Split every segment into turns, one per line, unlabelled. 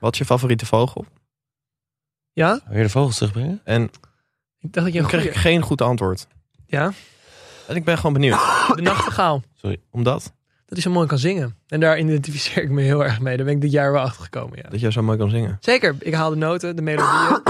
Wat is je favoriete vogel?
Ja,
Wil je de vogels terugbrengen?
En
ik dacht dat
toen
je een
kreeg ik
goede...
geen goed antwoord.
Ja,
En ik ben gewoon benieuwd.
de nachtegaal.
Omdat?
Dat hij zo mooi kan zingen. En daar identificeer ik me heel erg mee. Daar ben ik dit jaar wel achter gekomen. Ja.
Dat jij zo mooi kan zingen.
Zeker, ik haal de noten, de melodieën.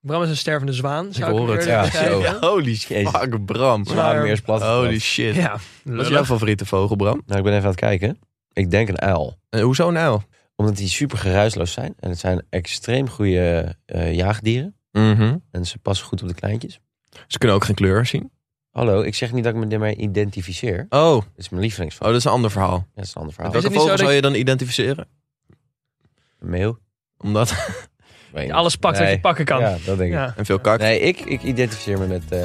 Bram is een stervende zwaan. Zou ik,
hoor het,
eerder
ja,
beschrijven.
zo.
Holy shit. Fuck, Bram.
Maar-
meer plat.
Holy shit.
Ja,
Wat
lullig.
is jouw favoriete vogel, Bram?
Nou, ik ben even aan het kijken. Ik denk een uil.
En hoezo nou?
Omdat die super geruisloos zijn. En het zijn extreem goede eh, jaagdieren. En ze passen goed op de kleintjes.
Ze kunnen ook geen kleur zien.
Hallo, ik zeg niet dat ik me daarmee identificeer.
Oh, oh
Het is mijn lievelingsvogel.
dat is een ander verhaal.
dat is een ander
Met
verhaal.
welke
het niet zo
vogel
dat
zou je dan identificeren?
Een meeuw.
Omdat...
Weet niet.
Alles pakt wat
Nee.
je pakken kan.
Ja, dat denk ik.
Ja.
En veel kak.
Nee, ik, ik identificeer me met... eh,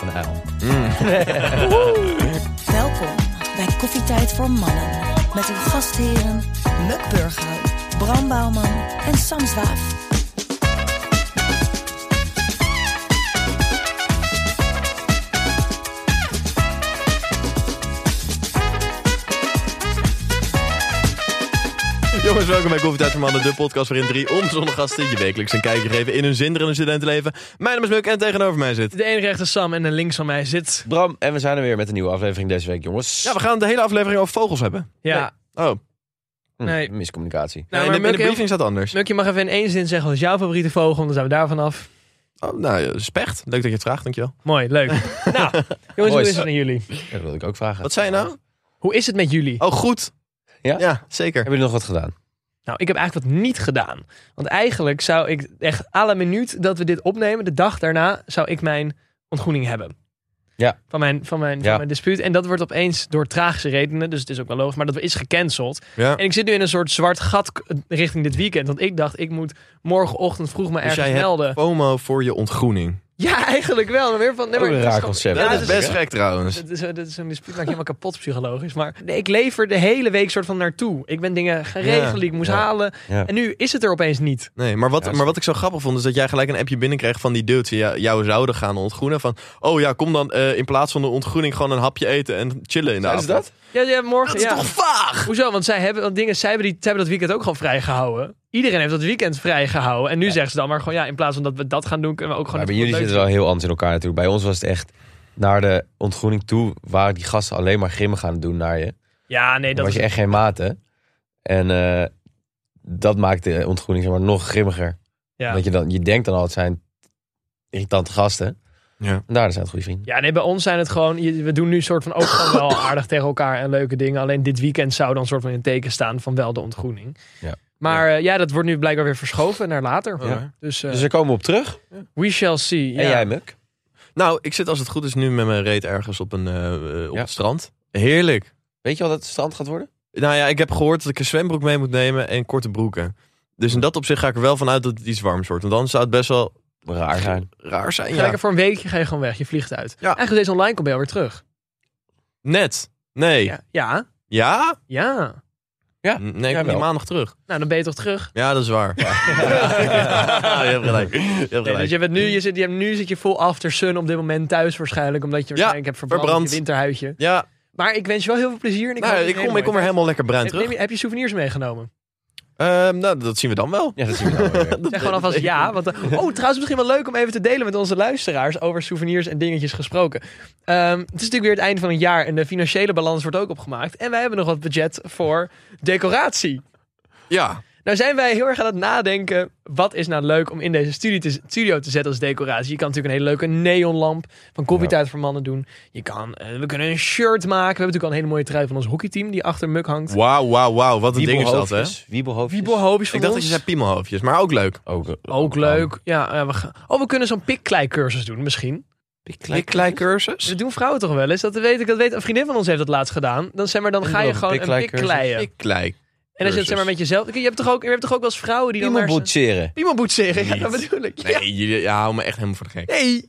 een uil.
Welkom bij Koffietijd voor Mannen. Met uw gastheren Muk Burghuis, Bram Bouwman en Sam Zwaaf.
Jongens, welkom bij Koffietijd voor Mannen, de podcast waarin drie onbezonnen gasten je wekelijks een kijkje geven in hun zinderende studentenleven. Mijn naam is Muk en tegenover mij zit...
De ene rechter Sam en de links van mij zit.
Bram, en we zijn er weer met een nieuwe aflevering deze week, jongens.
Ja, we gaan de hele aflevering over vogels hebben.
Ja.
Nee. Oh,
Hm,
nee.
Miscommunicatie.
Nou,
in, de,
maar
in de
Muk, heel-
briefing staat anders.
Muk, je mag even in één zin zeggen wat is jouw favoriete vogel, want dan zijn we daar vanaf.
Oh, nou, ja, specht. Leuk dat je het vraagt, dankjewel.
Mooi, leuk. nou, jongens, hoe
Boys.
is het met jullie?
Dat wilde ik ook vragen.
Wat zei je nou?
Hoe is het met jullie?
Oh, goed.
Ja?
Ja, zeker.
Hebben jullie nog wat gedaan?
Nou, ik heb eigenlijk wat niet gedaan. Want eigenlijk zou ik echt à la minuut dat we dit opnemen, de dag daarna, zou ik mijn ontgroening hebben.
Ja.
Van mijn, van mijn,
Ja.
van mijn dispuut. En dat wordt opeens door tragische redenen, dus het is ook wel logisch, maar dat is gecanceld.
Ja.
En ik zit nu in een soort zwart gat k- richting dit weekend. Want ik dacht, ik moet morgenochtend vroeg me
Dus
ergens
jij
melden.
hebt FOMO voor je ontgroening.
Ja, eigenlijk wel. Maar weer van, nee, maar
Oh, een
het is
raar
gewoon-
concept.
Ja,
dat
het
is
is
best gek trouwens.
dat is, dat is een dispuut, maakt je helemaal kapot psychologisch. Maar nee, ik lever de hele week soort van naartoe. Ik ben dingen gaan
Ja.
regelen die ik moest
Ja.
halen.
Ja.
En nu is het er opeens niet.
Nee, maar wat,
Ja,
maar wat ik zo grappig vond, is dat jij gelijk een appje binnenkreeg van die dudes die jou, jou zouden gaan ontgroenen. Van, oh ja, kom dan eh, in plaats van de ontgroening gewoon een hapje eten en chillen in de avond.
Ja, ja morgen.
Dat is
ja.
toch vaag?
Hoezo? Want zij hebben, want dingen, zij hebben, die, zij hebben dat weekend ook gewoon vrijgehouden. Iedereen heeft dat weekend vrijgehouden. En nu zeggen ze dan maar gewoon, ja, in plaats van dat we dat gaan doen, kunnen we ook
Maar bij
gewoon... iets
jullie
leuks
zitten wel heel anders in elkaar natuurlijk. Bij ons was het echt naar de ontgroening toe waren die gasten alleen maar grimmen gaan doen naar je.
doen. Ja,
Dan
nee, dat
was
is...
je echt geen maten. En eh, dat maakt de ontgroening zeg maar, nog grimmiger.
Ja.
Want je, dan, je denkt dan al, het zijn irritante gasten.
Ja.
En daardoor zijn het goede vrienden.
ja, nee, bij ons zijn het gewoon... je- We doen nu soort van ook gewoon wel aardig tegen elkaar en leuke dingen. Alleen dit weekend zou dan soort van in het teken staan van wel de ontgroening.
Ja.
Maar eh, ja, dat wordt nu blijkbaar weer verschoven naar later.
Oh, ja.
Dus, eh,
Dus daar komen we op terug.
we shall see. Ja.
En jij, Muk?
Nou, ik zit als het goed is nu met mijn reet ergens op, een, eh, eh, op
Ja.
het strand. Heerlijk.
Weet je al dat het strand gaat worden?
Nou ja, ik heb gehoord dat ik een zwembroek mee moet nemen en korte broeken. Dus in dat opzicht ga ik er wel vanuit dat het iets warms wordt. Want dan zou het best wel
Raar zijn.
raar zijn.
Ga
Ja.
lekker voor een weekje, ga je gewoon weg. Je vliegt uit.
Ja.
Eigenlijk deze online kom je alweer terug.
Net. Nee. Ja?
Ja. Ja. ja.
Ja.
Nee, ik kom
Jawel.
die maandag terug.
Nou, dan ben je toch terug.
Ja, dat is waar. je hebt gelijk. Je hebt
Nee,
gelijk.
dus je bent nu, je zit, je, hebt- nu zit je vol after sun op dit moment thuis waarschijnlijk. Omdat je waarschijnlijk hebt verbrand,
verbrand.
in je winterhuisje.
Ja,
Maar ik wens je wel heel veel plezier. En ik
nou,
hoop dat
ik
je
kom,
het
ik kom er
helemaal
helemaal lekker bruin
uit-
terug.
Neem je- Heb je souvenirs meegenomen?
Ehm, nou, dat zien we dan wel.
Ja, dat zien we dan wel weer.
Zeg gewoon alvast ja. Want, eh, oh, trouwens misschien wel leuk om even te delen met onze luisteraars over souvenirs en dingetjes gesproken. Ehm, het is natuurlijk weer het einde van een jaar en de financiële balans wordt ook opgemaakt. En wij hebben nog wat budget voor decoratie.
Ja.
Nou zijn wij heel erg aan het nadenken. Wat is nou leuk om in deze studie te, studio te zetten als decoratie? Je kan natuurlijk een hele leuke neonlamp van koffietijd voor mannen doen. Je kan, eh, we kunnen een shirt maken. We hebben natuurlijk al een hele mooie trui van ons hockeyteam die achter Muk hangt.
Wauw, wauw, wauw. Wat een ding is dat, hè?
Wiebelhoofdjes. Wiebelhoofdjes.
Wiebelhoopjes van
Ik dacht dat
ons.
je zei piemelhoofdjes, maar ook leuk.
Ook, eh,
Ook leuk. Ja, ja, we gaan... Oh, we kunnen zo'n pikkleicursus doen misschien.
Pikkleicursus?
Dat doen vrouwen toch wel eens? Dat weet ik. Dat weet, een vriendin van ons heeft dat laatst gedaan. Dan, zeg maar, dan
En
ga je
dan
gewoon een
pikkleicursus.
pikkleien.
Pikklei.
En als je het zeg maar met jezelf... Je hebt toch ook, je hebt toch ook wel eens vrouwen die dan...
Iemand
naar-
boetseren.
Piemel boetseren, ja,
Niet.
dat bedoel ik. Ja.
Nee, je ja, hou me echt helemaal voor de gek.
Nee. Nou,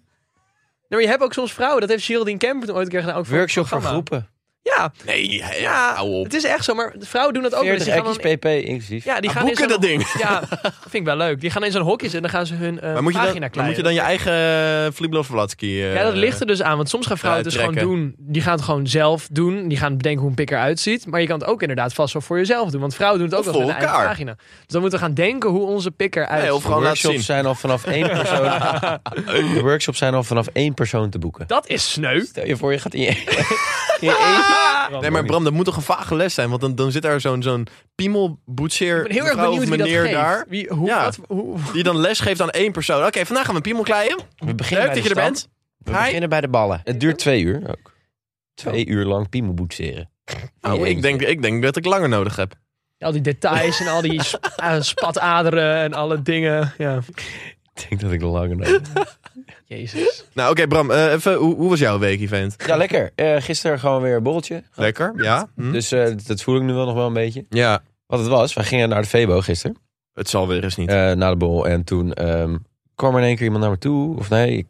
maar je hebt ook soms vrouwen. Dat heeft Geraldine Kemper toen ooit een keer gedaan. Ook voor
Workshop
het
voor
programma.
groepen.
Ja,
Nee, ja,
Ja,
hou op.
het is echt zo. Maar de vrouwen doen dat ook. wel eens.
40
Die gaan
ekkies
dan-
pp inclusief.
Ja, die
Ah,
gaan in
boeken
zo'n-
dat ding.
Ja, vind ik wel leuk. Die gaan in zo'n hokje zitten en dan gaan ze hun eh
Maar moet je, dan,
pagina
maar moet je
kleien.
dan je eigen eh, Vliblo Vlatski...
ja, dat ligt er dus aan. Want soms gaan vrouwen
eh,
het dus gewoon
trekken.
doen. Die gaan het gewoon zelf doen. Die gaan bedenken hoe een pik eruit ziet. Maar je kan het ook inderdaad vast wel voor jezelf doen. Want vrouwen doen het ook
Of
wel met
voor
hun eigen
elkaar.
pagina. Dus dan moeten we gaan denken hoe onze pik eruit
Nee,
ziet.
of gewoon laten zien.
Workshops zijn al vanaf één persoon. De workshops zijn al vanaf één persoon te boeken.
Dat is sneu.
Stel je voor, je gaat in je, Ah! in je eentje.
Nee, maar Bram, dat moet toch een vage les zijn? Want dan, dan zit daar zo'n zo'n piemelboetseer
Ik ben heel erg
mevrouw of
benieuwd wie dat
meneer
geeft.
daar...
Wie, hoe,
Ja.
wat, hoe,
Die dan les geeft aan één persoon. Oké, vandaag gaan we piemel kleien.
We beginnen
Leuk
bij
dat
de
je er
stand.
bent.
We
Hi.
beginnen bij de ballen. Het duurt twee uur ook. Twee uur lang piemelboetseren. In je
Oh, ik,
eentje.
denk, ik denk dat ik langer nodig heb.
al die details en al die sp- eh, spataderen en alle dingen. Ja.
Ik denk dat ik langer nodig heb.
Jezus.
Nou, oké, Bram, eh, even, hoe, hoe was jouw week, event?
Ja, lekker. Eh, gisteren gewoon weer een borreltje.
Lekker, ja? Hm?
Dus eh, dat voel ik nu wel nog wel een beetje.
Ja,
Wat het was, wij gingen naar de Febo gisteren.
het zal weer eens niet.
eh na de borrel. En toen ehm, kwam er in één keer iemand naar me toe. Of nee, ik,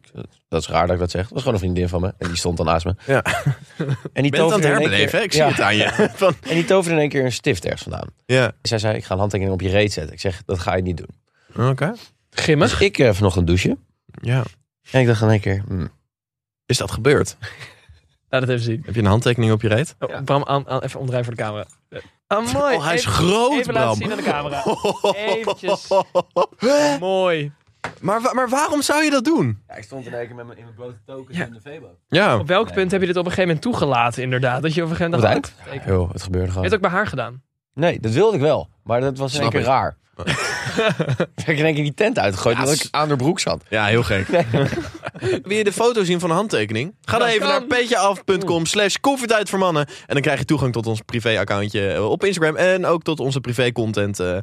dat is raar dat ik dat zeg. Het was gewoon een vriendin van me. En die stond dan naast me.
Ja.
En die
Ik ben het aan het
toverde in één
herbeleven, hè?
keer-
ik zie
Ja.
het aan je. Van,
En die toverde in één keer een stift ergens vandaan.
ja,
Zij zei, ik ga een handtekening op je reet zetten. Ik zeg, dat ga je niet doen.
oké.
Grimmig.
Dus ik eh, vanochtend douchen.
Ja.
En ik dacht in één keer, hmm,
Is dat gebeurd?
Laat het even zien.
Heb je een handtekening op je reet?
Oh, Bram, aan, aan- even omdraaien voor de camera. Ah, mooi.
Oh, hij is
Even-
groot,
Even
Bram.
laten zien aan de camera. Eventjes. mooi.
Maar, wa- maar waarom zou je dat doen?
Ja, ik stond in één keer met mijn, in mijn blote tokens
Ja.
in de Vebo.
Ja.
Op welk punt heb je dit op een gegeven moment toegelaten, inderdaad? Dat je op een gegeven
Op
moment...
het
dacht,
eind?
oh, teken.
Joh, het gebeurde
Je
gewoon.
hebt ook bij haar gedaan.
Nee, dat wilde ik wel. Maar dat was in één
Snap
keer
ik.
raar. ik heb in één keer die tent uitgegooid
Ja,
omdat
s-
ik aan de broek zat.
Ja, heel gek. Wil je de foto zien van een handtekening? Ga dan
Dat
even
kan.
naar petjeaf.com slash koffietijd voor mannen. En dan krijg je toegang tot ons privé-accountje eh, op Instagram. En ook tot onze privé-content. eh, eh,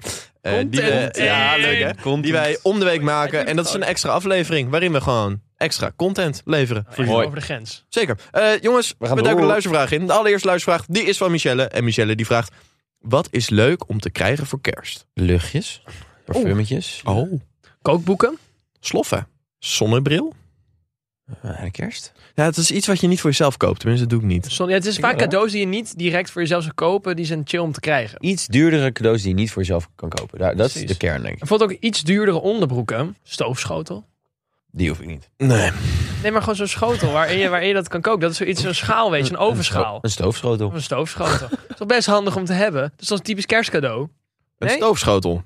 die we-
Content.
ja, leuk hè? Die wij om de week maken. En dat is een extra aflevering waarin we gewoon extra content leveren.
Even
Mooi.
Over de grens.
Zeker. Eh, jongens, we,
gaan
duiken de
door.
luistervraag in. De allereerste luistervraag, die is van Michelle. En Michelle die vraagt, wat is leuk om te krijgen voor kerst?
Luchtjes, parfummetjes.
Oh.
Kookboeken?
Sloffen. Zonnebril?
Eh, kerst.
Ja, het is iets wat je niet voor jezelf koopt. Tenminste, dat doe ik niet.
Zon- ja, het is vaak
wel, hè?
cadeaus die je niet direct voor jezelf zou kopen. Die zijn chill om te krijgen.
iets duurdere cadeaus die je niet voor jezelf kan kopen. Daar, dat is
Precies.
de kern, denk ik.
Bijvoorbeeld ook iets duurdere onderbroeken. Stoofschotel.
Die hoef ik niet.
Nee.
Nee, maar gewoon zo'n schotel waarin je, waarin je dat kan koken. Dat is zoiets, zo'n schaal, weet je. Een ovenschaal.
Een stoofschotel.
Of een stoofschotel. Dat is toch best handig om te hebben. Dat is toch een typisch kerstcadeau?
Een
Nee?
stoofschotel.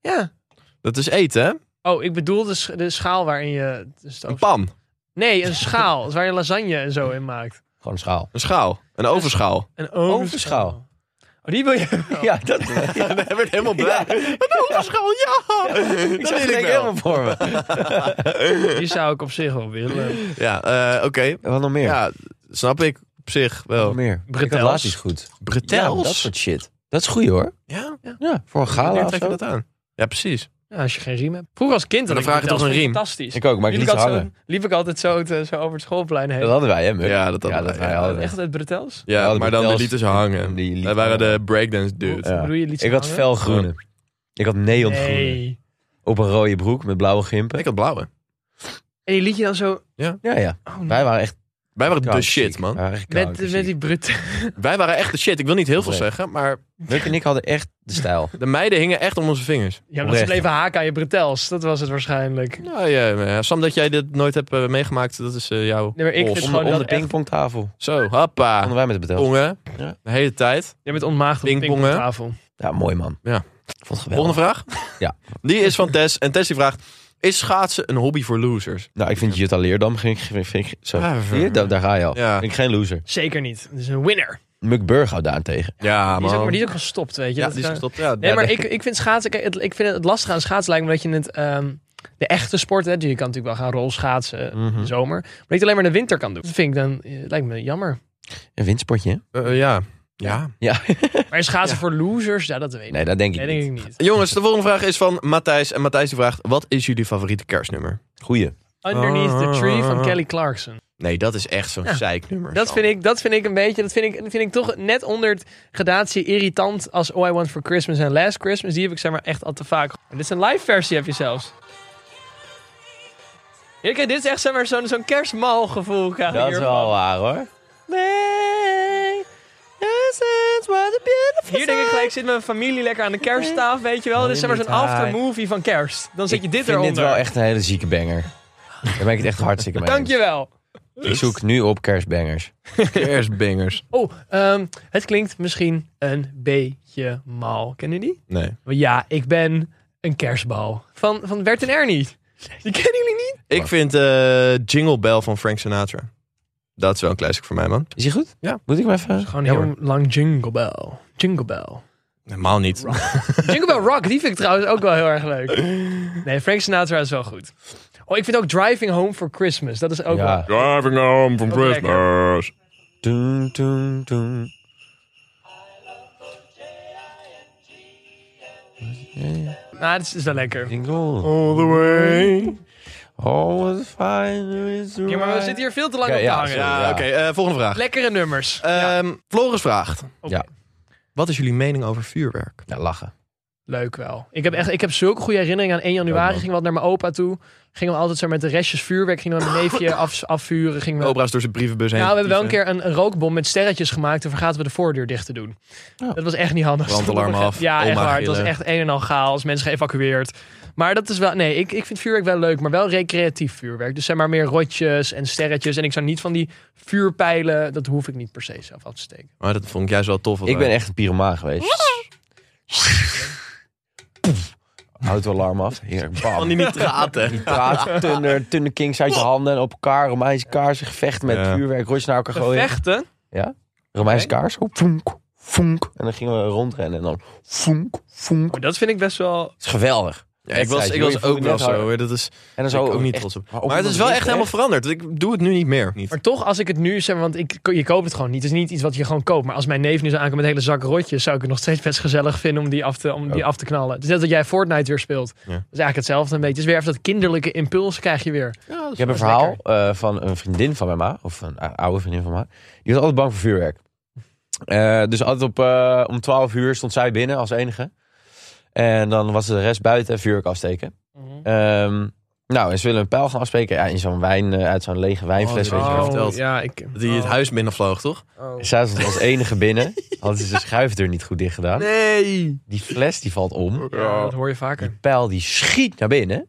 Ja.
Dat is eten, hè?
Oh, ik bedoel de, sch- de schaal waarin je de
Een
stoof...
pan.
Nee, een schaal waar je lasagne en zo in maakt.
Gewoon een schaal.
Een schaal. Een ovenschaal.
Een
Ovenschaal.
Oh, die wil je.
Ja, dat
Ja, daar werd helemaal blij. Een ovenschaal, ja!
ik zag
wil
het
ik
denk ik
wel.
helemaal voor me.
Die zou ik op zich wel willen.
Ja, eh, oké.
Wat nog meer?
Ja, snap ik op zich
Wat
wel.
nog meer? Ik had
Bretels.
laatst iets goed. Ja, dat
Bretels?
soort shit. Dat is goed hoor.
Ja,
Ja, voor een gala
wanneer
of
trek je
zo.
dat aan? Ja, precies.
Ja, als je geen riem hebt. Vroeger als kind had
Maar
ik
dan vraag je
dat
toch een
vond ik
riem?
Fantastisch.
Ik ook, maar ik
liep,
liet
ik
ze
altijd
hangen.
zo, liep ik altijd zo, te- zo over het schoolplein heen.
Dat hadden wij, hè, Muk?
Ja, dat hadden wij, ja,
hadden
Echt het bretels?
Ja,
Ja, de
maar dan de
Bretels.
lieten ze hangen.
Die lieten
Wij waren
hangen.
de breakdance dudes.
Ja.
Hoe bedoel je liet ze
Ik had
hangen?
felgroene. Ik had neongroene.
Nee.
Op een rode broek met blauwe gimpen.
Ik had blauwe.
En die liet je dan zo...
Ja, ja.
Oh, nee.
Wij waren echt
Wij waren de
koud
shit,
ziek.
man.
Wij waren echt koud
Met,
ziek.
met die bretels.
Wij waren echt de shit. Ik wil niet heel veel
Oprecht.
zeggen, maar
Muk en ik hadden echt de stijl.
de meiden hingen echt om onze vingers.
Ja, omdat ze
Oprecht.
bleven haken aan je bretels. Dat was het waarschijnlijk. Nee,
Nou ja, maar ja, Sam, dat jij dit nooit hebt eh, meegemaakt, dat is eh, jouw...
maar ik
Of
vind
om-
gewoon
Om
dat
de
echt...
pingpongtafel.
Zo, happa.
Konden wij met het betel.
Tongen.
Ja.
De hele tijd.
Jij bent ontmaagd op de
Pingpongen.
pingpongtafel.
Ja, mooi man.
Ja.
Ik vond het geweldig.
Volgende vraag.
Ja.
Die is van Tess. En Tess die vraagt, is schaatsen een hobby voor losers?
Nou, ik vind Jutta Leerdam ging, ging, ging- zo.
Ja,
Zie je? Daar, daar ga je al.
Ja.
Vind ik geen loser.
Zeker niet. Het is een winner.
Muk Burghout daarentegen.
Ja,
Die is ook, maar
man.
die is ook gestopt, weet je.
Ja,
Dat
die is
kan-
gestopt. Ja,
Nee,
ja,
maar
de-
ik, ik vind schaatsen... Kijk, het, ik vind het, het lastig aan schaatsen lijkt me dat je het... ehm, de echte sport, hè, die je kan natuurlijk wel gaan rolschaatsen eh,
Mhm.
in de zomer. Maar niet alleen maar in de winter kan doen. Dat vind ik dan... eh, lijkt me jammer.
Een windspotje, hè?
eh, eh, ja. Ja.
Ja.
Maar schaatsen voor losers, ja, dat weet ik
Nee, dat denk ik
Nee,
niet.
denk ik niet.
Jongens, de volgende vraag is van Matthijs. En Matthijs die vraagt, wat is jullie favoriete kerstnummer?
Goeie.
Underneath the Tree van Kelly Clarkson.
Nee, dat is echt zo'n
Ja.
zeiknummer.
Dat
Sam.
vind ik, dat vind ik een beetje, dat vind ik, dat vind ik toch net onder het gradatie irritant als All I Want For Christmas en Last Christmas. Die heb ik zeg maar echt al te vaak. En dit is een live versie heb je zelfs. Ja, kijk, dit is echt zeg maar zo'n zo'n kerstmal gevoel. krijg ik
Dat is
hiervan.
wel waar hoor.
Nee. Hier denk ik gelijk, zit mijn familie lekker aan de kersttafel, weet je wel. Dit is zeg maar zo'n aftermovie van kerst. Dan zet je
Ik
dit
vind
eronder.
dit wel echt een hele zieke banger. Daar ben ik het echt hartstikke mee eens.
Dankjewel.
Ik zoek nu op kerstbangers.
Kerstbingers.
Oh, ehm, het klinkt misschien een beetje mal. Kennen jullie die?
Nee.
Maar Ja, ik ben een kerstbal. Van, van Bert en Ernie. Die kennen jullie niet?
Ik vind eh, Jingle Bell van Frank Sinatra. Dat is wel een classic voor mij, man.
Is die goed?
Ja.
Moet ik hem even...
Gewoon een heel lang Jingle Bell. Jingle Bell.
Normaal niet.
Jingle Bell Rock, die vind ik trouwens ook wel heel erg leuk. Nee, Frank Sinatra is wel goed. Oh, ik vind ook Driving Home for Christmas. Dat is ook wel...
Ja.
Driving home from
Ook lekker.
Toen, toen, toen.
Nou, dat is, is wel lekker.
Jingle.
All the way.
Oh, what fine is
Ja, maar we zitten hier veel te lang
Ja,
op te
ja,
hangen.
sorry.
Ja,
Ja.
oké. eh, volgende vraag.
Lekkere nummers.
Ehm, Floris vraagt.
Oké.
Ja.
Wat is jullie mening over vuurwerk?
Ja, Nou, lachen.
Leuk wel. Ik heb, echt, ik heb zulke goede herinneringen aan 1 januari.
man.
Gingen we altijd naar mijn opa toe. Gingen we altijd zo met de restjes vuurwerk. Gingen we mijn neefje af, afvuren. Gingen we...
Opa is door zijn brievenbus heen.
nou, we hebben wel een
getyfd,
keer een, een rookbom met sterretjes gemaakt. En vergaten we de voordeur dicht te doen.
Ja.
Dat was echt niet handig.
Brandalarm af,
Ja, echt
oma
waar. Het was
gillen.
echt een en al chaos. Mensen geëvacueerd. Maar dat is wel... Nee, ik, ik vind vuurwerk wel leuk. Maar wel recreatief vuurwerk. Dus zeg maar meer rotjes en sterretjes. En ik zou niet van die vuurpijlen... Dat hoef ik niet per se zelf af te steken.
hè? Maar dat vond ik juist wel tof.
Ik ben echt een pyromaan geweest. Autoalarm af. Heerlijk. Bam.
van die nitraten.
Praat, tunder, tunder kings uit je handen en op elkaar. Romeinse kaarsen gevechten met
Oh, Ja.
vuurwerk, rotjes naar elkaar gooien.
Vechten?
Romeinse kaars. Op, vonk, vonk. En dan gingen we rondrennen en dan vonk, vonk.
Maar Oh, dat vind ik best wel...
Het is geweldig.
Ja, ik was,
Wedstrijd,
ik
joh, je
was
voelt
ook
je
wel
net harder.
zo. Hoor. Dat is,
En dan
daar ben
zou
ik ook niet
echt-
trots op.
maar ook
Maar het
omdat
is wel
het
echt helemaal veranderd. Ik doe het nu niet meer. Niet.
Maar toch, als ik het nu zeg, maar, want ik, je koopt het gewoon niet. Het is niet iets wat je gewoon koopt. Maar als mijn neef nu zou aankomen met een hele zak rotjes, zou ik het nog steeds best gezellig vinden om die af te, om die af te knallen. Het is net dat jij Fortnite weer speelt. Dat is eigenlijk hetzelfde een beetje. Het is weer even dat kinderlijke impuls krijg je weer.
Ik heb een verhaal eh, van een vriendin van mijn ma, of een ou- oude vriendin van mij. Die was altijd bang voor vuurwerk. Eh, dus altijd op, eh, om 12 uur stond zij binnen als enige. En dan was de rest buiten vuurwerk afsteken.
Mhm.
Ehm, nou, en ze willen een pijl gaan afspreken. Ja, in zo'n wijn, eh, uit zo'n lege wijnfles.
Oh,
weet je wel.
verteld.
ja, ik...
Die het
oh,
huis binnenvloog, toch?
oh.
Zij stond als enige binnen. Hadden ze de schuifdeur niet goed dicht gedaan.
Nee.
Die fles die valt om.
Ja, dat hoor je vaker.
Pijl die schiet naar binnen.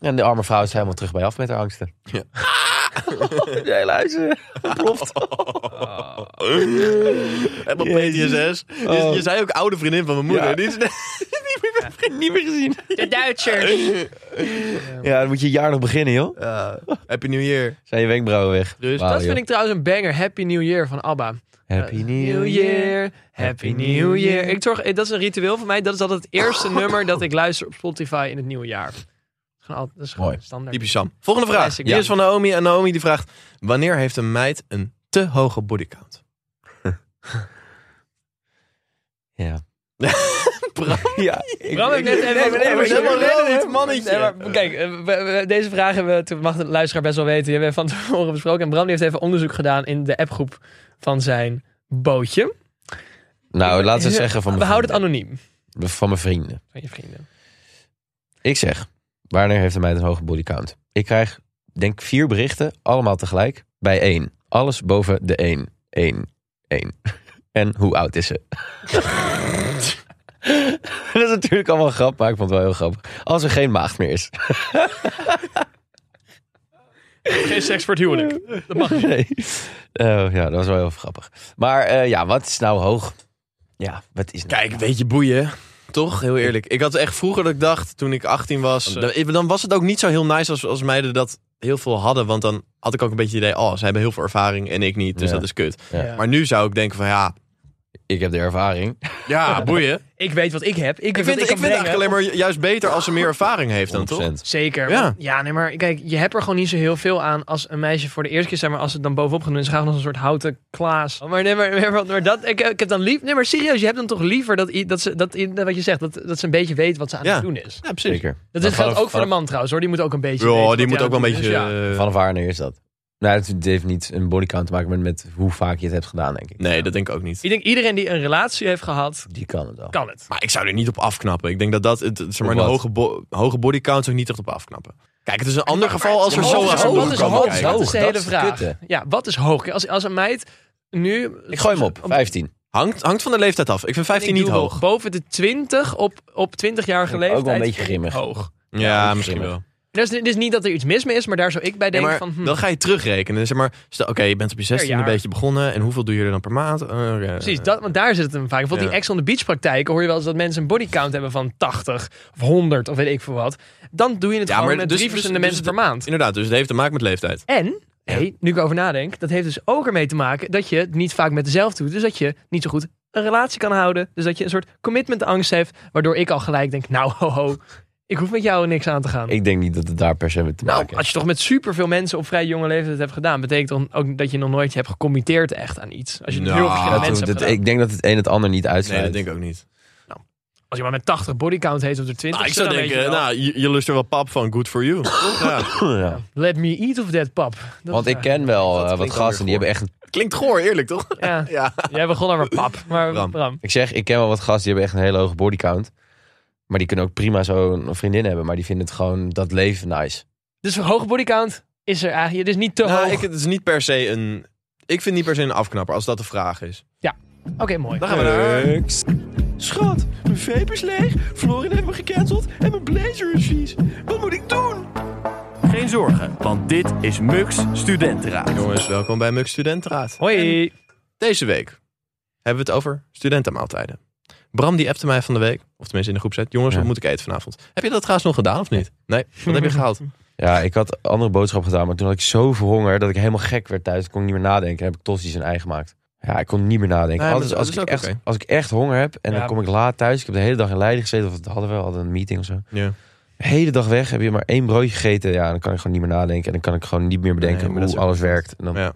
En de arme vrouw is helemaal terug bij af met haar angsten.
Ja.
De hele huis, eh, ontploft.
Helemaal PTSS. Je- Je,
Oh.
zei ook oude vriendin van mijn moeder.
Ja.
Die is
Niet meer gezien.
De Duitsers!
Ja, dan moet je jaar nog beginnen, joh.
Ja. Happy New Year.
Zijn je wenkbrauwen weg.
Dus
Wauw,
Dat
joh.
vind ik trouwens een banger. Happy New Year van ABBA. Eh,
Happy New Year.
New Year, Happy New Year. Ik zorg, eh, dat is een ritueel van mij. Dat is altijd het eerste nummer dat ik luister op Spotify in het nieuwe jaar. Gewoon al- Dat is gewoon
Mooi.
standaard.
Typisch Sam. Volgende vraag.
Classic.
Die
Ja.
is van Naomi. En Naomi die vraagt... Wanneer heeft een meid een te hoge bodycount?
Ja.
Bram.
Ja. Ik,
Bram heeft net even
nee, maar nee, maar
is helemaal
nee,
wel
nee,
dit mannetje.
Nee, maar kijk, eh, we- we- deze vraag hebben we, toen mag de luisteraar best wel weten, die hebben we van tevoren besproken. En Bram die heeft even onderzoek gedaan in de appgroep van zijn bootje. Eh,
Nou, laten we het zeggen van
We
mijn
houden het
vrienden.
anoniem
Van mijn vrienden.
van je vrienden.
Ik zeg, wanneer heeft een meid een hoge bodycount? Ik krijg, denk vier berichten, allemaal tegelijk, bij één. Alles boven de één. Eén. Eén. En hoe oud is ze? Dat is natuurlijk allemaal een grap, maar ik vond het wel heel grappig. Als er geen maagd meer is.
Geen seks voor het huwelijk. Dat mag niet.
Nee. Eh, ja, dat was wel heel grappig. Maar eh, ja, wat is nou hoog? Ja, wat is nou...
Kijk, een beetje boeien. Toch? Heel eerlijk. Ik had echt vroeger dat ik dacht, toen ik 18 was... eh, Dan was het ook niet zo heel nice als, als meiden dat heel veel hadden. Want dan had ik ook een beetje het idee... Oh, ze hebben heel veel ervaring en ik niet. Dus
Ja.
dat is kut.
Ja.
Ja.
Maar nu zou ik denken van ja...
Ik heb de ervaring.
Ja, boeien.
Ik weet wat ik heb. Ik,
Ik
weet wat
vind, ik
kan
vind het eigenlijk
brengen.
alleen maar ju- juist beter als ze meer ervaring heeft dan, toch?
100%.
Zeker.
Ja.
Ja. ja, nee, maar kijk, je hebt er gewoon niet zo heel veel aan als een meisje voor de eerste keer, zeg maar, als het dan bovenop gaat doen, is, gaan we nog een soort houten klaas. Oh, Maar nee, maar, maar, maar dat, ik, ik heb dan lief, nee, maar serieus, je hebt dan toch liever dat, i- dat ze, dat, i- dat wat je zegt, dat, dat ze een beetje weet wat ze aan
Ja.
het doen is.
Ja, precies.
Zeker.
Dat
Maar
is, geldt
vanaf-
ook voor de man trouwens hoor, die moet ook een beetje. weten
Ja,
wat
die moet
hij
ook wel
aan
een
het doen
beetje...
is, ja.
eh,
Vanaf wanneer is dat? Nou, het heeft niet een bodycount te maken met, met hoe vaak je het hebt gedaan, denk ik.
Nee, dat denk ik ook niet.
Ik denk iedereen die een relatie heeft gehad,
Die kan het al.
kan het.
Maar ik zou er niet op afknappen. Ik denk dat dat, het, zeg maar,
Op
een
wat?
hoge, bo hoge bodycount zou ik niet echt op afknappen. Kijk, het is een ander geval als we
Ja,
zo
hoog is
als een
hoog, wat is
bodycount
hoog?
kijken.
Dat is de
Dat
hele
is de
vraag.
kutte.
Ja, wat is hoog? Als, als een meid nu...
Ik gooi hem op, 15.
Hangt, hangt van de leeftijd af. Ik vind 15
Ik
niet
doe
hoog.
Boven de 20 op, op 20-jarige leeftijd.
Ook wel een beetje grimmig.
Hoog.
Ja,
Ja,
misschien
misschien
wel.
Dus het is niet dat er iets mis mee is, maar daar zou ik bij
Nee,
denken
maar
van... hm,
dan ga je terugrekenen. Zeg maar, stel, oké, je bent op je 16 een
jaar.
beetje begonnen. En hoeveel doe je er dan per maand? Eh, eh,
Precies, dat, want daar zit het hem vaak. Bijvoorbeeld
Ja.
die ex on the beach praktijken hoor je wel eens dat mensen een bodycount hebben van 80 of 100 of weet ik veel wat. Dan doe je het
Ja,
gewoon
maar
met
dus-
drie
dus-
verschillende
dus
mensen per maand.
Inderdaad, dus het heeft te maken met leeftijd.
En, hey, nu ik over nadenk, dat heeft dus ook ermee te maken dat je het niet vaak met dezelfde doet. Dus dat je niet zo goed een relatie kan houden. Dus dat je een soort commitmentangst heeft, waardoor ik al gelijk denk, nou ho ho, ik hoef met jou niks aan te
Oh.
gaan.
Ik denk niet dat het daar per se mee te
nou,
maken
als
heeft.
je toch met superveel mensen op vrij jonge leeftijd hebt gedaan, betekent dan ook dat je nog nooit je hebt gecommitteerd echt aan iets. Als je het
Nou,
heel verschillende
Dat
mensen
hoeft het-
hebt gedaan.
ik denk dat het een het ander niet
Nee,
uitsluit.
dat denk ik ook niet.
Als je maar met 80 bodycount heet op de 20.
Nou, ik
dan
zou
weet je
denken,
wel,
nou, je, je lust er wel pap van. Good for you. Ja.
Ja.
nou-
Let me eat of that pap. Dat
Want
is
ik
waar.
ken wel eh, wat
klinkt dan
gasten, die
weer
hebben echt... een-
Klinkt goor, eerlijk toch?
Ja.
Ja.
Jij begon al met pap, maar
Bram.
Bram.
Ik zeg, ik ken wel wat gasten, die hebben echt een hele hoge bodycount. Maar die kunnen ook prima zo'n vriendin hebben. Maar die vinden het gewoon, dat leven nice.
Dus een hoge bodycount is er eigenlijk. Het is niet te
Nou,
hoog.
ik, het is niet per se een... Ik vind niet per se een afknapper, als dat de vraag is.
Oké, mooi. Eh,
Dan gaan we naar...
Schat, mijn vape is leeg, Florin heeft me gecanceld en mijn blazer is vies. Wat moet ik doen? Geen zorgen, want dit is Mux Studentenraad.
Jongens, welkom bij Mux Studentenraad.
Hoi.
Deze week hebben we het over studentenmaaltijden. Bram die appte mij van de week, of tenminste in de groep zet. Jongens,
Ja.
wat moet ik eten vanavond? Heb je dat trouwens nog gedaan of niet? Nee, wat heb je gehaald?
Ja, ik had andere boodschap gedaan, maar toen had ik zoveel honger dat ik helemaal gek werd thuis. Ik kon niet meer nadenken. Heb ik tosti's en ei gemaakt. Ja, ik kon niet meer nadenken.
Nee, maar
Altijd
dat
als,
is
ik
ook
echt,
oké.
als ik echt honger heb en
Ja.
dan kom ik laat thuis. Ik heb de hele dag in Leiden gezeten, of dat hadden we, we hadden een meeting of zo.
Ja.
De hele dag weg, heb je maar één broodje gegeten. Ja, dan kan ik gewoon niet meer nadenken. En dan kan ik gewoon niet meer
Nee,
bedenken
maar dat
hoe
is ook
alles werkt. En dan,
Ja.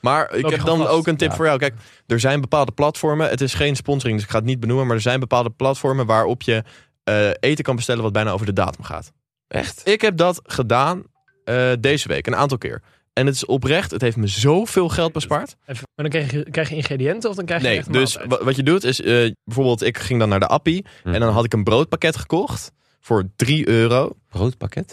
Maar ik
Loop je
heb
gewoon
dan
vast.
ook een tip
Ja.
voor jou. Kijk, er zijn bepaalde platformen. Het is geen sponsoring, dus ik ga het niet benoemen. Maar er zijn bepaalde platformen waarop je eh, eten kan bestellen wat bijna over de datum gaat.
Echt?
Ik heb dat gedaan eh, deze week, een aantal keer. En het is oprecht, het heeft me zoveel geld bespaard.
Even, maar dan krijg je, krijg je ingrediënten of dan krijg je
Nee,
echt een
dus
maaltijd?
wa- wat je doet is, eh, bijvoorbeeld ik ging dan naar de Appie
Mhm.
en dan had ik een broodpakket gekocht voor 3 euro.
Broodpakket?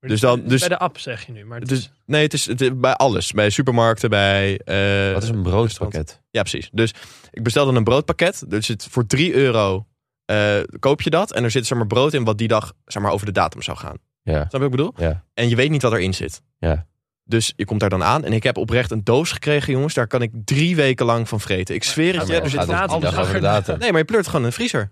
Maar
dus
dit-
dan-
dit is
dus-
bij de app zeg je nu. Maar dit
Dus, nee, het is, het is bij alles. Bij supermarkten, bij... eh,
Wat is een broodpakket?
Ja, precies. Dus ik bestelde een broodpakket. Dus het, voor 3 euro eh, koop je dat en er zit zeg maar, brood in wat die dag zeg maar, over de datum zou gaan.
Ja.
Snap je wat ik bedoel?
Ja.
En je weet niet wat erin zit.
Ja.
Dus je komt daar dan aan. En ik heb oprecht een doos gekregen, jongens. Daar kan ik drie weken lang van vreten. Ik zweer het dus je.
maar
er
dat
zit
gaat
van
op die
alles
dag over de
achter.
datum.
Nee, maar je pleurt gewoon in de vriezer.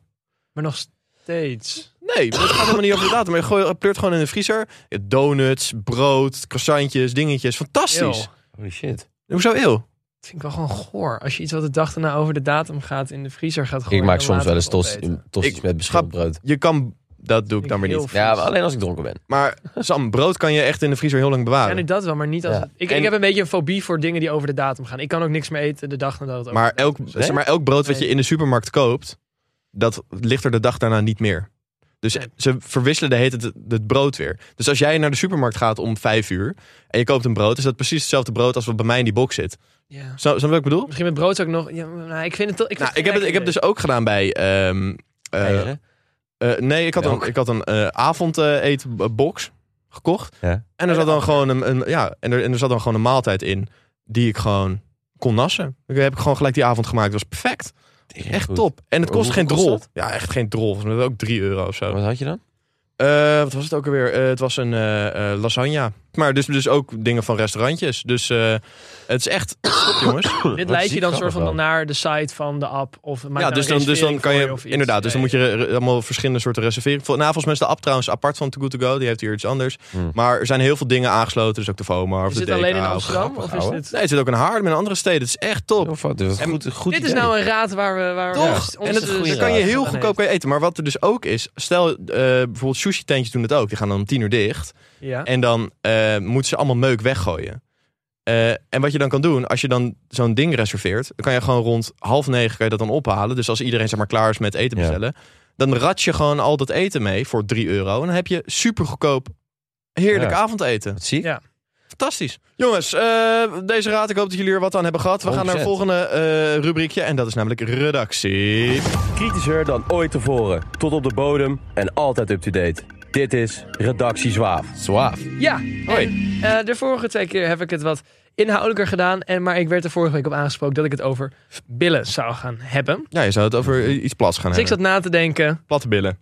maar nog steeds.
Nee, dat gaat helemaal niet over de datum. Maar je gooi- pleurt gewoon in de vriezer. Donuts, brood, croissantjes, dingetjes.
Eeuw.
Fantastisch.
Holy shit.
Hoezo eeuw?
Dat vind ik wel gewoon goor. Als je iets wat de dag erna over de datum gaat in de vriezer gaat gooien.
Ik maak
dan
soms
later
wel eens
nog
tost-
opeten.
tosti's
Ik-
met beschaafd brood.
Je kan... Dat doe ik dan weer
Heel
niet.
vies.
Ja, maar alleen als ik dronken ben.
Maar Sam, brood kan je echt in de vriezer heel lang
Ja, nu
bewaren.
dat wel, maar niet als...
Ja.
het- Ik,
En-
ik heb een beetje een fobie voor dingen die over de datum gaan. Ik kan ook niks meer eten de dag nadat het over
Maar elk, zeg maar elk brood wat je
Nee.
in de supermarkt koopt... dat ligt er de dag daarna niet meer. Dus
Nee.
ze verwisselen de hele tijd het, het brood weer. Dus als jij naar de supermarkt gaat om vijf uur... en je koopt een brood, is dat precies hetzelfde brood... als wat bij mij in die box zit.
Ja.
Snap snap je wat ik bedoel?
Misschien met brood ook nog... Ja, nou, ik vind het toch... Ik, vind
Nou, ik, heb het,
geen
ik heb
lekker
dus ook gedaan bij... ehm, eh,
Eieren?
Eh, nee, ik had
Ja,
een,
ook.
ik had een eh, avondeetbox gekocht.
Ja.
En er zat dan gewoon een, een- ja, en er, en er zat dan gewoon een maaltijd in die ik gewoon kon nassen. Ik heb ik gewoon gelijk die avond gemaakt. Het was perfect. Echt
Goed.
top. En het
Hoe-
kost geen
hoeveel
drol.
kost
ja, echt geen drol. Volgens mij was het ook 3 euro of
Oh.
zo.
Wat had je dan?
Eh, wat was het ook alweer? Eh, het was een eh, eh, lasagne. Maar dus, dus ook dingen van restaurantjes. Dus eh, het is echt top, jongens.
Dit
Wat
leidt je
ziek
dan
grappig
soort van
wel.
dan naar de site van de app. Of maakt
ja,
nou
dus
een
dan, dus dan
reservering
kan
voor
je.
of iets.
Inderdaad, dus dan moet
Ja,
je re- allemaal verschillende soorden reserveren. Vol- Nou, volgens mij is de app trouwens apart van Too Good To Go. Die heeft hier iets anders.
Hmm.
Maar er zijn heel veel dingen aangesloten. Dus ook de FOMA of
Is
de
dit alleen in
DK of-
Amsterdam? Of is
ouwe.
dit...
Nee, het zit ook in Haarlem en andere steden. Het is echt top.
Of wat? Dat was
En
goed, goed
Dit is
idee.
nou een raad waar we... Waar we
Toch?
ons-
en
onze
het,
goede
daar
raad.
kan je heel
aan
goedkoop mee
heeft.
eten. Maar wat er dus ook is, stel eh, bijvoorbeeld sushi tentjes doen het ook. Die gaan dan om tien uur dicht.
Ja.
En dan eh, moeten ze allemaal meuk weggooien. Eh, en wat je dan kan doen, als je dan zo'n ding reserveert, dan kan je gewoon rond half negen kan je dat dan ophalen. Dus als iedereen zeg maar klaar is met eten
Ja.
bestellen, dan rat je gewoon al dat eten mee voor 3 euro. En dan heb je super goedkoop heerlijk
Ja.
avondeten.
Wat zie ik?
Ja.
fantastisch. Jongens, eh, deze raad, ik hoop dat jullie er wat aan hebben gehad. We gaan naar het
100%.
volgende eh, rubriekje en dat is namelijk redactie.
Kritischer dan ooit tevoren. Tot op de bodem en altijd up-to-date. Dit is Redactie Zwaaf.
Zwaaf.
Ja, en, eh, de vorige twee keer heb ik het wat inhoudelijker gedaan. En, maar ik werd er vorige week op aangesproken dat ik het over billen zou gaan hebben.
Ja, je zou het over eh, iets plats gaan
Dus ik
hebben.
zat na te denken,
Platte billen.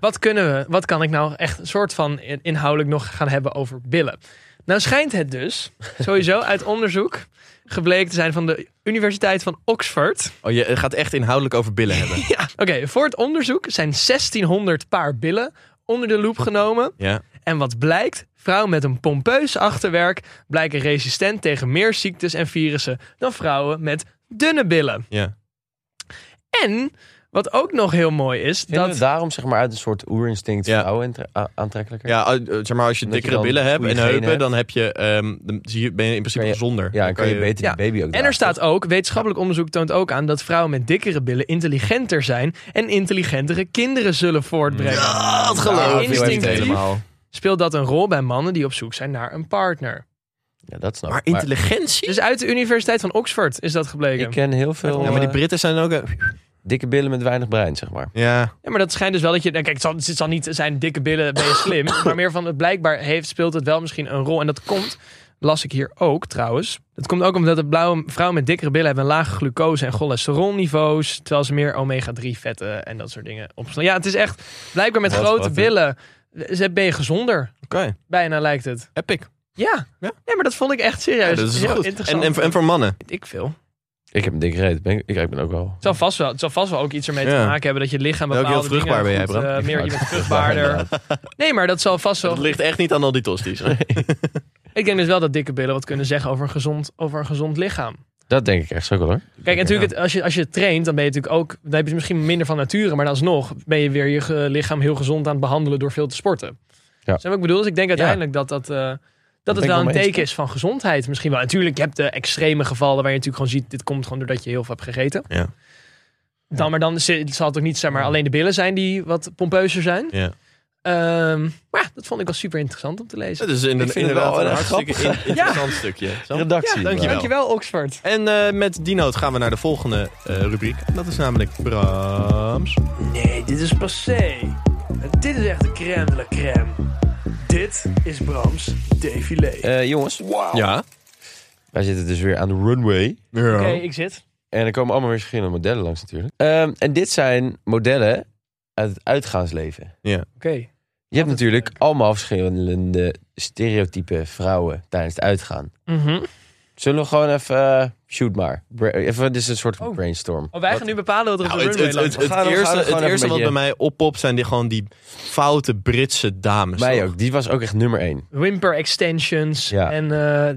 wat kunnen we, wat kan ik nou echt een soort van in- inhoudelijk nog gaan hebben over billen? Nou schijnt het dus sowieso uit onderzoek gebleken te zijn van de Universiteit van Oxford.
Oh, je gaat echt inhoudelijk over billen hebben.
Ja, oké, voor het onderzoek zijn 1600 paar billen onder de loep genomen.
ja.
En wat blijkt? Vrouwen met een pompeus achterwerk blijken resistent tegen meer ziektes en virussen dan vrouwen met dunne billen.
Ja.
En wat ook nog heel mooi is,
Vinden
dat
we daarom zeg maar uit een soort oerinstinct
Ja.
vrouwen intra- a- aantrekkelijker?
Ja, eh, zeg maar, als je
Omdat je
dikkere
dan
billen hebt
goede
en
genen
heupen,
hebt.
dan heb je, ehm, dan zie je, ben je in principe
Kan je-
gezonder.
Ja,
Dan
dan kan je beter
Ja.
die baby ook
en er
dragen.
staat ook, wetenschappelijk onderzoek toont ook aan dat vrouwen met dikkere billen intelligenter zijn en intelligentere kinderen zullen voortbrengen.
Ah, het geloof
Ja,
ik
instinctief.
helemaal.
Speelt dat een rol bij mannen die op zoek zijn naar een partner?
Ja, dat snap
Maar
ik.
intelligentie?
Dus uit de Universiteit van Oxford is dat gebleken.
ik ken heel veel
Ja, maar die
eh,
Britten zijn ook... een-
dikke billen met weinig brein, zeg maar.
Ja.
Ja, maar dat schijnt dus wel dat je. nou, Kijk, het zal, het zal niet zijn dikke billen, ben je slim. maar meer van het blijkbaar heeft, speelt het wel misschien een rol. En dat komt, las ik hier ook trouwens. Dat komt ook omdat de blauwe vrouwen met dikkere billen hebben een lage glucose- en cholesterolniveaus. Terwijl ze meer omega-3 vetten en dat soort dingen opslaan. Ja, het is echt blijkbaar met
Wat,
grote
wat, hè?
billen. eh, ze- Ben je gezonder?
Oké.
Bijna lijkt het.
Epic.
Ja.
Ja.
ja, maar dat vond ik echt serieus.
Ja, dat is
heel
goed. En,
interessant.
en, en voor mannen?
Weet ik veel.
Ik heb een dikke reet. Ben ik, ik, ik ben ook wel...
Het zal vast wel, het zal vast wel ook iets ermee te
Ja.
maken hebben dat je lichaam
Ben ook heel
bepaalde
vruchtbaar ben
dingen
jij,
goed,
Bram.
eh, meer, je bent vruchtbaarder. Nee, maar dat zal vast
Dat
wel.
ligt echt niet aan al die tosties.
Ik denk dus wel dat dikke billen wat kunnen zeggen over een gezond, over een gezond lichaam.
Dat denk ik echt zo wel, hoor.
Kijk, natuurlijk, het, als, je, als je traint, dan ben je natuurlijk ook. Dan heb je het misschien minder van nature, maar alsnog ben je weer je ge- lichaam heel gezond aan het behandelen door veel te sporten. Snap je wat ik bedoel? Dus ik denk uiteindelijk dat dat. eh, dat
ben
het
ik
wel
wel
een
mee eens,
teken is van gezondheid misschien wel. Natuurlijk, je hebt de extreme gevallen waar je natuurlijk gewoon ziet... dit komt gewoon doordat je heel veel hebt gegeten.
Ja.
Dan, maar dan zi- zal het ook niet zeg maar, alleen de billen zijn die wat pompeuzer zijn.
Ja.
Ehm, maar ja, dat vond ik wel super interessant om te lezen.
Dat is inderdaad,
Ik vind het wel
inderdaad een
erg
hartstikke in- interessant stukje. Sam.
Redactie.
dankjewel.
Dankjewel, Oxford.
En eh, met die noot gaan we naar de volgende eh, rubriek. En Dat is namelijk Brams.
Nee, dit is passé. En dit is echt de crème de la crème. Dit is Brams défilé. Oké,
Eh, jongens,
Ja.
wij zitten dus weer aan de runway.
ja.
ik zit.
En er komen allemaal weer verschillende modellen langs natuurlijk. Ehm, en dit zijn modellen uit het uitgaansleven.
Oké.
Je hebt natuurlijk allemaal verschillende stereotype vrouwen tijdens het uitgaan.
Mhm.
Zullen we gewoon even eh, shoot maar. Bra- even, dit is een soort van
Oh.
brainstorm.
Oh, wij gaan nu bepalen wat er op
Nou,
de
het,
runway
het,
langs
het,
gaat.
het
gaan we
eerste,
gewoon
het
even een
eerste wat bij
beetje-
mij oppopt zijn die, gewoon die foute Britse dames.
Mij
toch?
ook. Die was ook echt nummer één.
Wimper extensions
Ja.
en eh,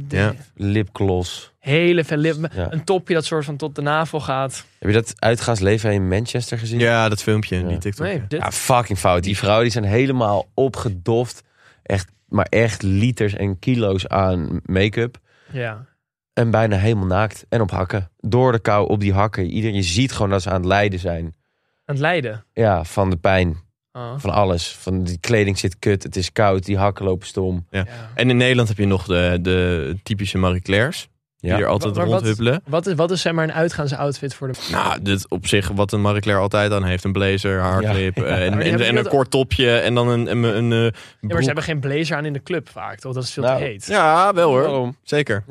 de
Ja.
Lipgloss.
hele veel lip-
Ja.
Een topje dat soort van tot de navel gaat.
Heb je dat uitgaansleven in Manchester gezien?
Ja, dat filmpje,
Ja.
die TikTok.
Nee, dit.
Ja, fucking fout. Die vrouwen die zijn helemaal opgedoft. Echt, maar echt liters en kilo's aan make-up.
Ja.
En bijna helemaal naakt. En op hakken. Door de kou op die hakken. Iedereen, je ziet gewoon dat ze aan het lijden zijn.
Aan het lijden.
Ja, van de pijn.
Oh.
Van alles. Van die kleding zit kut. Het is koud. Die hakken lopen stom.
Ja.
En in Nederland heb je nog de, de typische Marie Claire's. Die
Ja.
er altijd
Maar wat-
rondhuppelen.
Wat is, wat is zeg maar een uitgaansoutfit voor de...
Nou, dit op zich wat een Marie Claire altijd aan heeft. Een blazer, haarclip eh, en,
die
en,
hebben
en een
dat-
kort topje. En dan een, een, een, eh,
Ja, maar
broek.
ze hebben geen blazer aan in de club vaak, toch? Dat is veel
Nou,
te heet.
Ja, wel hoor.
Oh.
Waarom?
Zeker.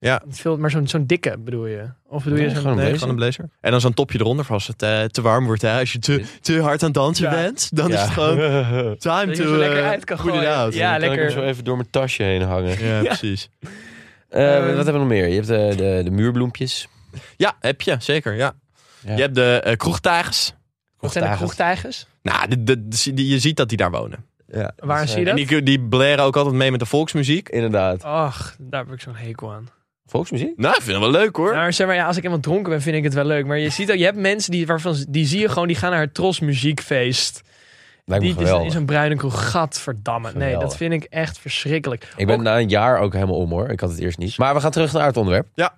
Het Veel, maar zo'n zo'n dikke bedoel je? Of bedoel
Nee,
je zo'n...
gewoon- Een
Nee,
blazer.
gewoon een blazer. En dan zo'n topje eronder voor als het eh, te warm wordt. Hè. Als je te, te hard aan het dansen
Ja.
bent, dan is het gewoon
gewoon...
time
Dat je
to
zo lekker
eh,
uit kan
put it
gooien.
out.
Ja,
Ja, lekker. Ik
lekker.
hem zo even door mijn tasje heen hangen.
Ja, precies.
Eh,
Ehm.
wat hebben we nog meer? Je hebt de, de, de muurbloempjes.
Ja, heb je, zeker. Ja.
Ja.
Je hebt de eh, kroegtijgers.
Wat zijn de kroegtijgers?
Nou, de, de- de- die- je ziet dat die daar wonen.
Ja.
Waar zie je
En
dat?
die, die blaren ook altijd mee met de volksmuziek.
eh, Inderdaad.
Ach, daar heb ik zo'n hekel aan.
Volksmuziek?
Nou, ik vind het wel leuk hoor.
Nou, zeg maar, ja, als ik helemaal dronken ben, vind ik het wel leuk. Maar je ziet ook, je hebt mensen die, waarvan, ze- die zie je gewoon, die gaan naar het Tros Muziekfeest.
Lijkt me
Die is
geweldig.
in zo'n bruine kroeg. Gadverdamme. Nee, dat
Geweldig.
vind ik echt verschrikkelijk.
Ik ben
Ook-
na een jaar ook helemaal om hoor. Ik had het eerst niet. Maar we gaan terug naar het onderwerp.
Ja.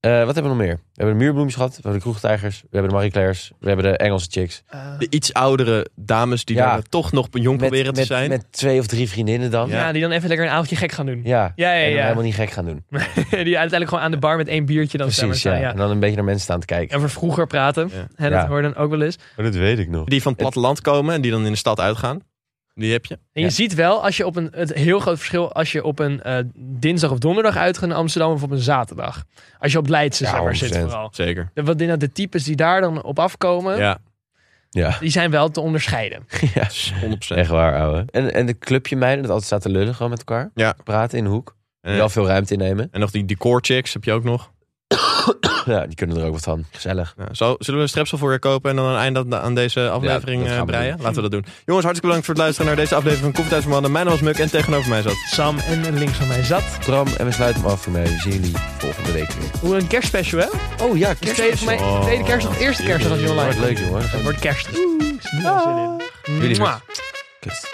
Eh, wat hebben we nog meer? We hebben de muurbloems gehad. We hebben de kroegtijgers. We hebben de Marie Claire's. We hebben de Engelse chicks.
Eh,
De iets oudere dames die
Ja.
daar toch nog jong proberen te
met,
zijn.
met twee of drie vriendinnen dan.
ja. die dan even lekker een avondje gek gaan doen.
nou- Ja.
Ja, ja,
en dan
ja.
helemaal niet gek gaan doen.
die uiteindelijk gewoon aan de bar met één biertje dan staan.
Precies, ja. En dan een beetje naar mensen staan te kijken.
En voor vroeger praten.
Ja.
Hè, dat
Ja.
hoorde dan ook wel eens.
dat weet ik nog.
Die van het platteland komen en die dan in de stad uitgaan. Die heb je.
En je
Ja.
ziet wel als je op een, het heel groot verschil als je op een eh, dinsdag of donderdag uitgaat naar Amsterdam of op een zaterdag. Als je op Leidse
Ja,
zeg maar, zit
100%.
vooral.
Zeker.
De, wat de, de types die daar dan op afkomen,
Ja, 100%.
Ja.
die zijn wel te onderscheiden.
ja. Echt waar, ouwe. En, en de clubje meiden, dat altijd staat te lullen gewoon met elkaar.
Ja.
Praten in de hoek.
Eh,
Wel veel ruimte innemen.
En nog die decor chicks heb je ook nog.
Ja, die kunnen er ook wat van. Gezellig.
Nou, zo, zullen we een strepsel voor je kopen en dan een eind aan- aan deze aflevering
dat
eh,
gaan we
breien? Laten we dat doen. Jongens, hartstikke bedankt voor het luisteren naar deze aflevering van Koffietijd voor Mannen. Mijn naam was Muk en tegenover mij zat...
Sam en links van mij zat.
Bram, en we sluiten hem af voor mij. We zien jullie volgende week weer.
Hoe een kerstspecial, hè?
Oh ja,
Dus tweede, voor mij, tweede kerst of eerste kerst als je online
Wordt leuk, jongen.
Het wordt kerst. Oeh, zin in.
Jullie
Mwah.
Kus.